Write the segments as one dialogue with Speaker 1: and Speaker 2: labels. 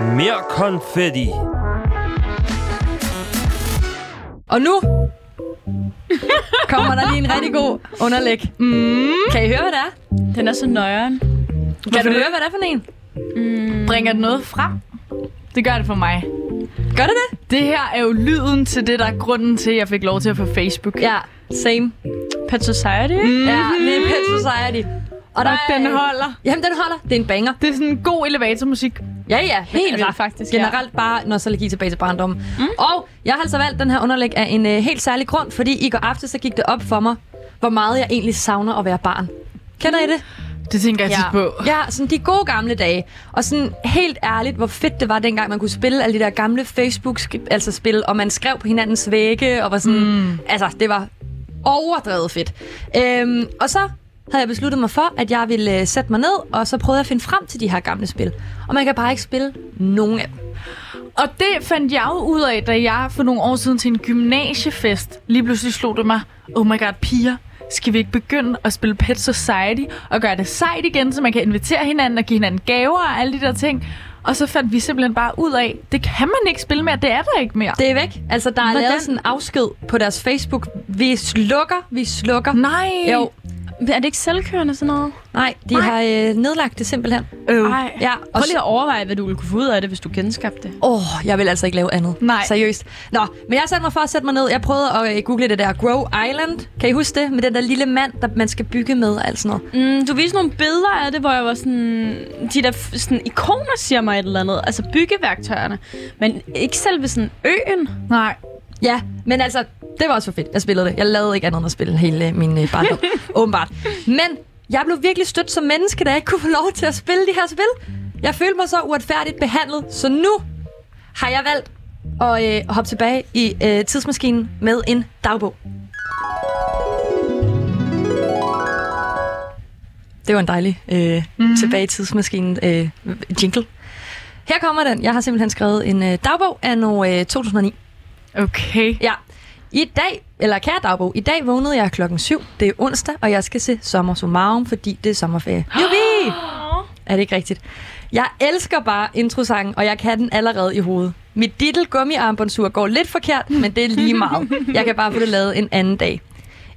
Speaker 1: Mere konfetti.
Speaker 2: Og nu kommer der lige en rigtig god underlæg. Mm. Kan I høre, hvad det er?
Speaker 3: Den er så nøjeren.
Speaker 2: Kan du høre, hvad det er for en?
Speaker 3: Bringer den noget frem? Det gør det for mig.
Speaker 2: Gør det det?
Speaker 3: Det her er jo lyden til det, der er grunden til, at jeg fik lov til at få Facebook.
Speaker 2: Ja, same.
Speaker 3: Pet Society. Mm.
Speaker 2: Ja, det er Pet Society. Og der
Speaker 3: Og
Speaker 2: er,
Speaker 3: den holder.
Speaker 2: Jamen, den holder. Det er en banger.
Speaker 3: Det er sådan en god elevatormusik.
Speaker 2: Ja, ja. Helt
Speaker 3: vildt,
Speaker 2: ret.
Speaker 3: faktisk, ja.
Speaker 2: Generelt bare nostalgi tilbage til barndommen. Mm. Og jeg har altså valgt den her underlæg af en øh, helt særlig grund, fordi i går aftes så gik det op for mig, hvor meget jeg egentlig savner at være barn. Kender I det?
Speaker 3: Det tænker jeg ja. tit på.
Speaker 2: Ja, sådan de gode gamle dage. Og sådan helt ærligt, hvor fedt det var dengang, man kunne spille alle de der gamle Facebook-spil, altså spil, og man skrev på hinandens vægge, og var sådan... Mm. Altså, det var overdrevet fedt. Øhm, og så havde jeg besluttet mig for, at jeg ville øh, sætte mig ned, og så prøvede jeg at finde frem til de her gamle spil. Og man kan bare ikke spille nogen af dem.
Speaker 3: Og det fandt jeg jo ud af, da jeg for nogle år siden til en gymnasiefest lige pludselig slog det mig, oh my god, piger, skal vi ikke begynde at spille Pet Society og gøre det sejt igen, så man kan invitere hinanden og give hinanden gaver og alle de der ting. Og så fandt vi simpelthen bare ud af, det kan man ikke spille mere, det er der ikke mere.
Speaker 2: Det er væk. Altså, der er Hvordan? lavet
Speaker 3: Hvordan?
Speaker 2: sådan en afsked på deres Facebook. Vi slukker, vi slukker.
Speaker 3: Nej.
Speaker 2: Jo,
Speaker 4: Er det ikke selvkørende sådan noget?
Speaker 2: nej, de nej.
Speaker 3: Nej.
Speaker 2: har øh, nedlagt det simpelthen.
Speaker 3: Øh.
Speaker 4: Ej.
Speaker 2: Ja, og
Speaker 4: Mm. Prøv lige at overveje, hvad du ville kunne få ud af det, hvis du genskabte det.
Speaker 2: Åh, oh, jeg vil altså ikke lave andet.
Speaker 3: Nej.
Speaker 2: Seriøst. Nå, men jeg satte mig for at sætte mig ned. Jeg prøvede at øh, google det der Grow Island. Kan I huske det? Med den der lille mand, der man skal bygge med og alt sådan noget.
Speaker 4: Mm, du viste nogle billeder af det, hvor jeg var sådan... De der f- sådan, ikoner siger mig et eller andet. Altså byggeværktøjerne. Men ikke selve sådan øen.
Speaker 3: Nej.
Speaker 2: Ja, men altså, det var også for fedt. Jeg spillede det. Jeg lavede ikke andet end at spille hele øh, min øh, barndom. åbenbart. Men jeg blev virkelig stødt som menneske, da jeg ikke kunne få lov til at spille de her spil. Jeg følte mig så uretfærdigt behandlet, så nu har jeg valgt at øh, hoppe tilbage i øh, tidsmaskinen med en dagbog. Det var en dejlig øh, mm-hmm. tilbage i tidsmaskinen øh, jingle. Her kommer den. Jeg har simpelthen skrevet en øh, dagbog af øh, 2009.
Speaker 3: Okay.
Speaker 2: Ja. I dag, eller kære dagbog, i dag vågnede jeg klokken 7. Det er onsdag, og jeg skal se Sommer Summarum, fordi det er sommerferie. Jubi! Er det ikke rigtigt? Jeg elsker bare introsangen, og jeg kan den allerede i hovedet. Mit dittel gummiarmbåndsur går lidt forkert, men det er lige meget. Jeg kan bare få det lavet en anden dag.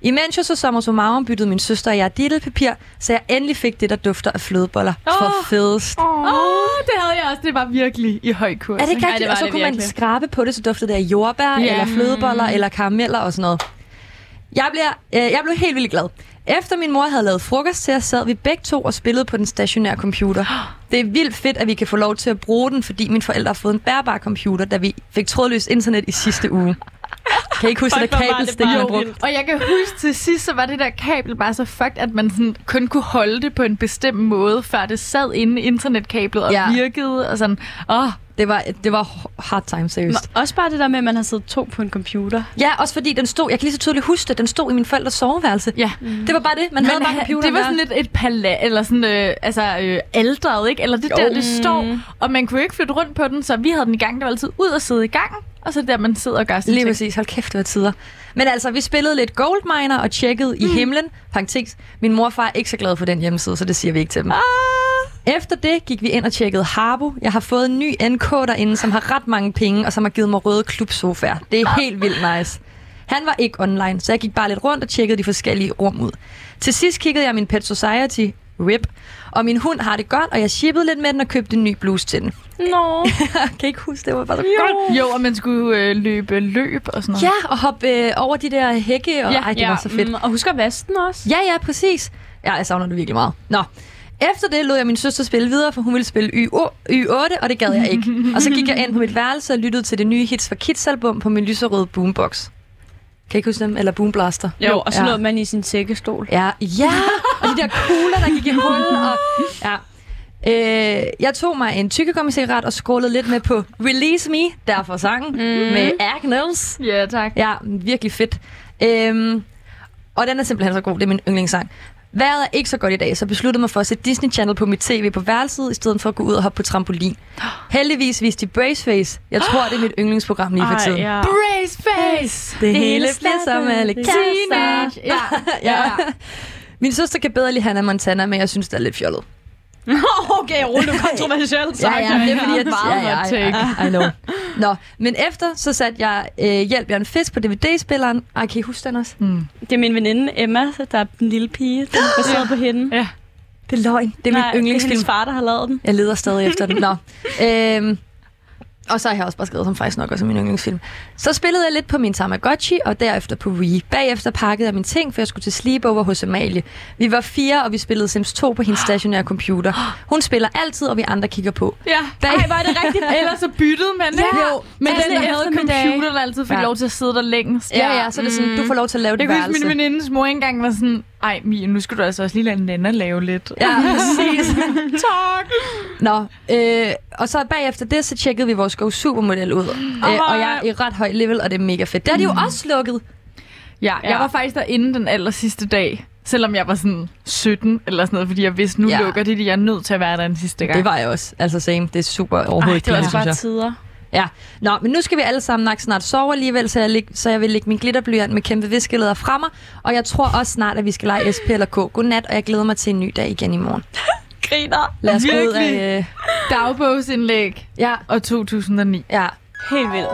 Speaker 2: Imens jeg så Sommer Summarum byttede min søster og jeg dittelpapir, så jeg endelig fik det, der dufter af flødeboller for
Speaker 3: Åh.
Speaker 2: fedest.
Speaker 3: Åh, oh, det havde jeg også. Det var virkelig i høj kurs.
Speaker 2: Er det
Speaker 3: ikke?
Speaker 2: ikke
Speaker 4: Ej,
Speaker 2: rigtigt?
Speaker 4: det var
Speaker 2: Og så
Speaker 4: det
Speaker 2: kunne man
Speaker 4: virkelig. Mm.
Speaker 2: skrabe på det, så duftede det af jordbær,
Speaker 3: Ja.
Speaker 2: yeah. eller flødeboller, eller karameller og sådan noget. Jeg, bliver, øh, jeg blev helt vildt glad. Efter min mor havde lavet frokost til os, sad vi begge to og spillede på den stationære computer. Det er vildt fedt, at vi kan få lov til at bruge den, fordi mine forældre har fået en bærbar computer, da vi fik trådløst internet i sidste uge. Kan I ikke huske,
Speaker 4: Fuck,
Speaker 2: at
Speaker 4: hvor var det
Speaker 2: kabelstik
Speaker 4: bare
Speaker 2: man brugte?
Speaker 4: vildt.
Speaker 3: Og jeg kan huske til sidst, så var det der kabel bare så fucked, at man sådan kun kunne holde det på en bestemt måde, før det sad inde i internetkablet og
Speaker 2: Ja.
Speaker 3: ja. virkede. Og sådan, åh, oh,
Speaker 2: Det var, det var hard time, seriøst.
Speaker 4: Men også bare det der med, at man har siddet to på en computer.
Speaker 2: Ja, også fordi den stod, jeg kan lige så tydeligt huske det, den stod i min forældres soveværelse.
Speaker 3: ja.
Speaker 4: Mm.
Speaker 2: Det var bare det, man havde bare computeren
Speaker 3: det var
Speaker 2: der.
Speaker 3: sådan lidt et pala, eller sådan, øh, altså øh, aldret, ikke? Eller det jo. der, det står,
Speaker 2: Mm.
Speaker 3: og man kunne ikke flytte rundt på den, så vi havde den i gang, det var altid ud og sidde i gangen, og så der, man sidder og gør sådan
Speaker 2: Lige
Speaker 3: ting.
Speaker 2: præcis. Hold kæft, det var tider. Men altså, vi spillede lidt Goldminer og tjekkede mm. i himlen. Parenthes. Min morfar er ikke så glad for den hjemmeside, så det siger vi ikke til dem. Ah. Efter det gik vi ind og tjekkede Harbo. Jeg har fået en ny NK derinde, som har ret mange penge, og som har givet mig røde klubsofaer. Det er helt vildt nice. Han var ikke online, så jeg gik bare lidt rundt og tjekkede de forskellige rum ud. Til sidst kiggede jeg min Pet Society, RIP, og min hund har det godt, og jeg shippede lidt med den og købte en ny bluse til den.
Speaker 4: Nå.
Speaker 2: Jeg kan ikke huske, det var bare så godt.
Speaker 3: Godt. Jo, og man skulle øh, løbe løb og sådan noget.
Speaker 2: Ja, og hoppe øh, over de der hække, og ja,
Speaker 3: Ja,
Speaker 2: ej, det ja, mm. var så fedt.
Speaker 4: Mm, og husk at vaske den også.
Speaker 2: Ja, ja, præcis. Ja, jeg savner det virkelig meget. Nå, efter det lod jeg min søster spille videre, for hun ville spille Y8, Y8, og det gad jeg ikke. og så gik jeg ind på mit værelse og lyttede til det nye Hits for Kids album på min lyserøde boombox. Kan I ikke huske dem? Eller boomblaster.
Speaker 4: Jo, og så
Speaker 2: ja.
Speaker 4: lå man i sin sækkestol.
Speaker 2: Ja, ja. og de der kugler, der gik i hunden. Og, ja. Øh, jeg tog mig en tykkegummi-cigaret og skålede lidt med på Release Me, derfor sangen, mm. med Agnes.
Speaker 3: Ja, tak.
Speaker 2: Ja, virkelig fedt. Øhm, og den er simpelthen så god. Det er min yndlingssang. Vejret er ikke så godt i dag, så jeg besluttede mig for at sætte Disney Channel på mit tv på værelset, i stedet for at gå ud og hoppe på trampolin. Heldigvis viste de Braceface. Jeg tror, det er mit yndlingsprogram lige for tiden.
Speaker 4: Ej, ja.
Speaker 3: Brace face!
Speaker 2: Det hele bliver som alle
Speaker 3: Teenage!
Speaker 2: kasser.
Speaker 3: Ja,
Speaker 2: ja. Min søster kan bedre lide Hannah Montana, men jeg synes, det er lidt fjollet.
Speaker 4: okay, rolig, du er kontroversielt
Speaker 2: Ja,
Speaker 4: sagt.
Speaker 2: ja, men det er fordi,
Speaker 3: jeg
Speaker 2: at
Speaker 3: har meget
Speaker 2: ja,
Speaker 3: hot
Speaker 2: ja, I, I know. Nå, men efter, så satte jeg øh, Hjælp Jørgen Fisk på DVD-spilleren. Ej, kan I huske den også?
Speaker 3: Mm.
Speaker 4: Det er min veninde Emma, der er den lille pige, der er baseret på hende.
Speaker 3: Ja.
Speaker 2: Det er løgn. Det er
Speaker 4: Nej,
Speaker 2: min
Speaker 4: Det er
Speaker 2: yndlingsfilm.
Speaker 4: hendes far, der har lavet den.
Speaker 2: Jeg leder stadig efter den. Nå. Øhm, og så har jeg også bare skrevet som faktisk nok også er min yndlingsfilm. Så spillede jeg lidt på min Tamagotchi, og derefter på Wii. Bagefter pakkede jeg mine ting, for jeg skulle til sleepover hos Amalie. Vi var fire, og vi spillede Sims 2 på hendes stationære computer. Hun spiller altid, og vi andre kigger på.
Speaker 3: Ja.
Speaker 2: Bag-
Speaker 3: Ej, var det rigtigt? Ellers så byttede man, ikke?
Speaker 2: Ja. Jo,
Speaker 3: Men
Speaker 4: altså
Speaker 3: den, der havde
Speaker 4: eftermiddag.
Speaker 3: computer, der altid fik
Speaker 2: Ja.
Speaker 3: lov til at sidde der længst.
Speaker 2: Ja, ja, så er det sådan, du får lov til at lave
Speaker 3: Jeg
Speaker 2: det
Speaker 3: kan huske,
Speaker 2: værelse.
Speaker 3: min venindes mor engang var sådan, ej Mie, nu skal du altså også lige lade Nana lave lidt.
Speaker 2: Ja, præcis.
Speaker 3: Tak!
Speaker 2: Nå, øh, og så bagefter det, så tjekkede vi vores Go Supermodel ud. Øh, og jeg er i ret høj level, og det er mega fedt. Der er de
Speaker 3: Mm.
Speaker 2: jo også lukket.
Speaker 3: Ja, jeg
Speaker 4: Ja.
Speaker 3: var faktisk derinde den aller sidste dag, selvom jeg var sådan 17 eller sådan noget, fordi jeg vidste, nu
Speaker 2: Ja.
Speaker 3: ja. lukker det, de jeg er nødt til at være der den sidste gang.
Speaker 2: Det var jeg også. Altså same, det er super overhovedet
Speaker 4: det
Speaker 2: pinligt,
Speaker 4: var også
Speaker 2: synes jeg.
Speaker 4: bare tider.
Speaker 2: Ja, nå, men nu skal vi alle sammen nok snart sove alligevel, så jeg, lig, så jeg vil lægge min glitterblyant med kæmpe viskeleder fra mig, og jeg tror også snart, at vi skal lege SP eller K. Godnat, og jeg glæder mig til en ny dag igen i morgen.
Speaker 4: Griner.
Speaker 2: Lad os gå ud
Speaker 3: Virkelig?
Speaker 2: af... Øh,
Speaker 3: dagbogsindlæg
Speaker 2: ja,
Speaker 3: og 2009.
Speaker 2: ja.
Speaker 4: Helt vildt.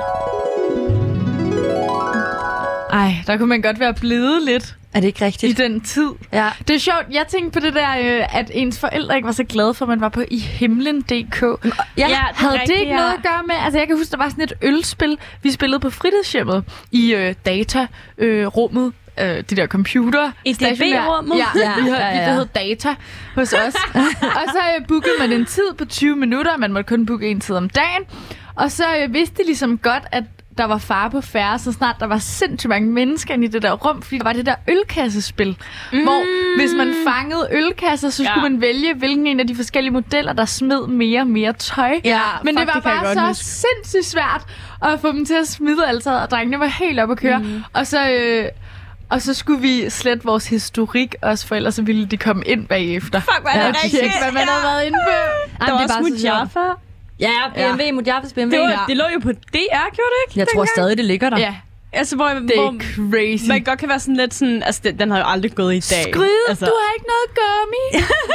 Speaker 3: Ej, der kunne man godt være blevet lidt
Speaker 2: Er det ikke
Speaker 3: i
Speaker 2: rigtigt?
Speaker 3: den tid.
Speaker 2: Ja.
Speaker 3: Det er sjovt, jeg tænkte på det der, øh, at ens forældre ikke var så glade for, at man var på i himlen.dk.
Speaker 2: Ja,
Speaker 4: Ja,
Speaker 3: Havde det
Speaker 4: rigtigt,
Speaker 3: ikke
Speaker 4: ja.
Speaker 3: noget at gøre med? Altså, jeg kan huske, der var sådan et ølspil, vi spillede på fritidshjemmet i øh, datarummet, øh, rummet, øh, det der computer.
Speaker 4: I DB-rummet?
Speaker 3: Ja,
Speaker 2: Ja,
Speaker 3: ja, vi havde,
Speaker 2: ja,
Speaker 3: ja,
Speaker 2: ja.
Speaker 3: ja. det hed data hos os. og så øh, bookede man en tid på 20 minutter, man måtte kun booke en tid om dagen. Og så øh, vidste de ligesom godt, at der var far på færre, så snart der var sindssygt mange mennesker inde i det der rum, fordi der var det der ølkassespil, mm. hvor hvis man fangede ølkasser, så
Speaker 4: Ja.
Speaker 3: skulle man vælge, hvilken en af de forskellige modeller, der smed mere og mere tøj.
Speaker 4: Ja,
Speaker 3: Men det
Speaker 4: fuck,
Speaker 3: var
Speaker 4: det kan jeg
Speaker 3: bare
Speaker 4: godt
Speaker 3: så
Speaker 4: huske.
Speaker 3: sindssygt svært at få dem til at smide altså, og drengene var helt oppe at køre. Mm. Og så... Øh, og så skulle vi slette vores historik også, for ellers så ville de komme ind bagefter.
Speaker 4: Fuck, hvor er
Speaker 3: Ja,
Speaker 4: det
Speaker 3: og
Speaker 4: rigtigt.
Speaker 3: tjekke, hvad man
Speaker 4: Ja.
Speaker 3: havde været inde på.
Speaker 4: Der var også
Speaker 2: sjovt.
Speaker 4: Mujaffa.
Speaker 2: Ja, BMW, ja. Mujafas BMW.
Speaker 4: Det, var,
Speaker 2: ja.
Speaker 4: det lå jo på DR, gjorde det ikke?
Speaker 2: Jeg tror
Speaker 4: dengang?
Speaker 2: stadig, det ligger der.
Speaker 3: Ja,
Speaker 4: Altså, hvor,
Speaker 3: det
Speaker 4: hvor
Speaker 3: er crazy.
Speaker 4: man godt kan være sådan lidt sådan... Altså, den, den har jo aldrig gået i dag.
Speaker 3: Skrid,
Speaker 4: altså,
Speaker 3: du har ikke noget gummi.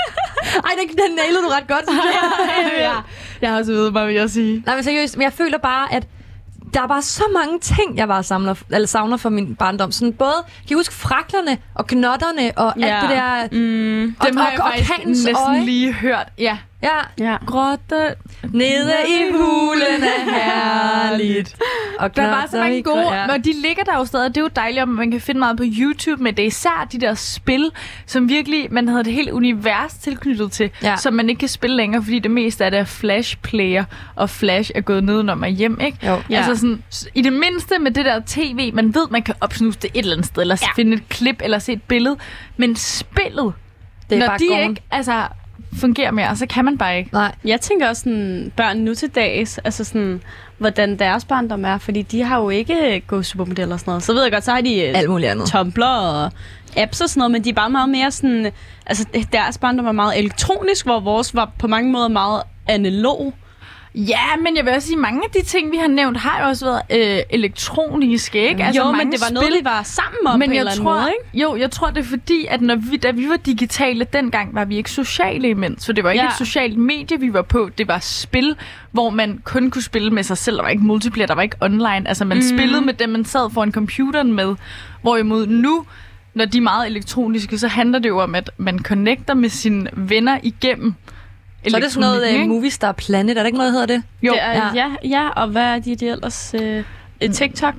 Speaker 2: Ej, den, den nailede du ret godt, synes jeg.
Speaker 3: ja, jeg har også ved mig, vil jeg sige.
Speaker 2: Nej, men seriøst, men jeg føler bare, at der er bare så mange ting, jeg bare samler, eller savner fra min barndom. Sådan både, kan I huske fraklerne og knotterne og ja. alt det der...
Speaker 4: Mm.
Speaker 2: Og,
Speaker 3: Dem har jeg
Speaker 2: og, og
Speaker 3: faktisk
Speaker 2: kanens
Speaker 3: næsten
Speaker 2: øje.
Speaker 3: lige hørt. Ja.
Speaker 2: Ja.
Speaker 4: Ja.
Speaker 3: Grotte
Speaker 2: Nede i hulen er herligt. Og
Speaker 3: Der er bare så
Speaker 2: knotter
Speaker 3: mange
Speaker 2: i
Speaker 3: gode,
Speaker 2: grøn- ja.
Speaker 3: og de ligger der jo stadig, og det er jo dejligt, om man kan finde meget på YouTube, men det er især de der spil, som virkelig, man havde et helt univers tilknyttet til,
Speaker 2: Ja.
Speaker 3: ja. som man ikke kan spille længere, fordi det meste af det er Flash Player, og Flash er gået nedenom og hjem, ikke?
Speaker 2: Jo.
Speaker 4: Ja.
Speaker 3: Altså sådan, s- i det mindste med det der tv, man ved, man kan opsnuse det et eller andet sted, eller ja.
Speaker 4: Ja.
Speaker 3: finde et klip, eller se et billede, men spillet,
Speaker 2: Det er
Speaker 3: når
Speaker 2: bare
Speaker 3: de
Speaker 2: gården.
Speaker 3: ikke altså, fungerer mere, så kan man bare ikke.
Speaker 2: Nej.
Speaker 4: Jeg tænker også sådan, børn nu til dags, altså sådan, hvordan deres barndom er, fordi de har jo ikke øh, gået supermodeller og sådan noget. Så ved jeg godt, så har de øh,
Speaker 2: Alt muligt andet.
Speaker 4: Tumblr og apps og sådan noget, men de er bare meget mere sådan, altså deres barndom var meget elektronisk, hvor vores var på mange måder meget analog.
Speaker 3: Ja, men jeg vil også sige, mange af de ting, vi har nævnt, har jo også været øh, elektroniske, ikke?
Speaker 4: Altså, jo, men
Speaker 3: mange
Speaker 4: det var noget,
Speaker 3: spil-
Speaker 4: vi var sammen om på en eller anden
Speaker 3: tror,
Speaker 4: måde, ikke?
Speaker 3: Jo, jeg tror, det er fordi, at når vi, da vi var digitale dengang, var vi ikke sociale imens. For det var ikke ja.
Speaker 4: Ja.
Speaker 3: et socialt medie, vi var på. Det var spil, hvor man kun kunne spille med sig selv. Der var ikke multiplayer, der var ikke online. Altså,
Speaker 4: Mhm.
Speaker 3: man mm. spillede med dem, man sad foran computeren med. Hvorimod nu, når de er meget elektroniske, så handler det jo om, at man connecter med sine venner igennem
Speaker 2: Så er det sådan noget
Speaker 3: elektronikken,
Speaker 2: uh,
Speaker 3: ikke?
Speaker 2: Movie Star Planet, er der ikke noget, der hedder det?
Speaker 3: Jo,
Speaker 4: øh, det er,
Speaker 2: ja.
Speaker 4: ja. ja. Ja, og hvad er de, de ellers? Øh, øh, TikTok?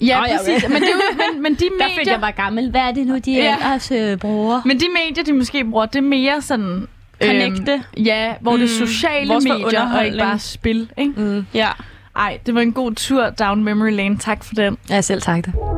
Speaker 3: ja,
Speaker 4: Nå, ja,
Speaker 3: præcis. Men, det er jo, men, men de
Speaker 4: Der
Speaker 3: medier...
Speaker 4: følte jeg var gammel. Hvad er det nu, de
Speaker 3: Ja.
Speaker 4: ellers øh, bruger?
Speaker 3: Men de medier, de måske bruger, det er mere sådan...
Speaker 4: Connecte.
Speaker 3: Øhm, ja, hvor mm. det er
Speaker 4: Mm.
Speaker 3: sociale
Speaker 4: Vores var
Speaker 3: medier, og ikke
Speaker 4: underholdning.
Speaker 3: bare spil. Ikke?
Speaker 2: Mm.
Speaker 4: Ja.
Speaker 3: Ej, det var en god tur down memory lane. Tak for den.
Speaker 2: Ja, selv tak det.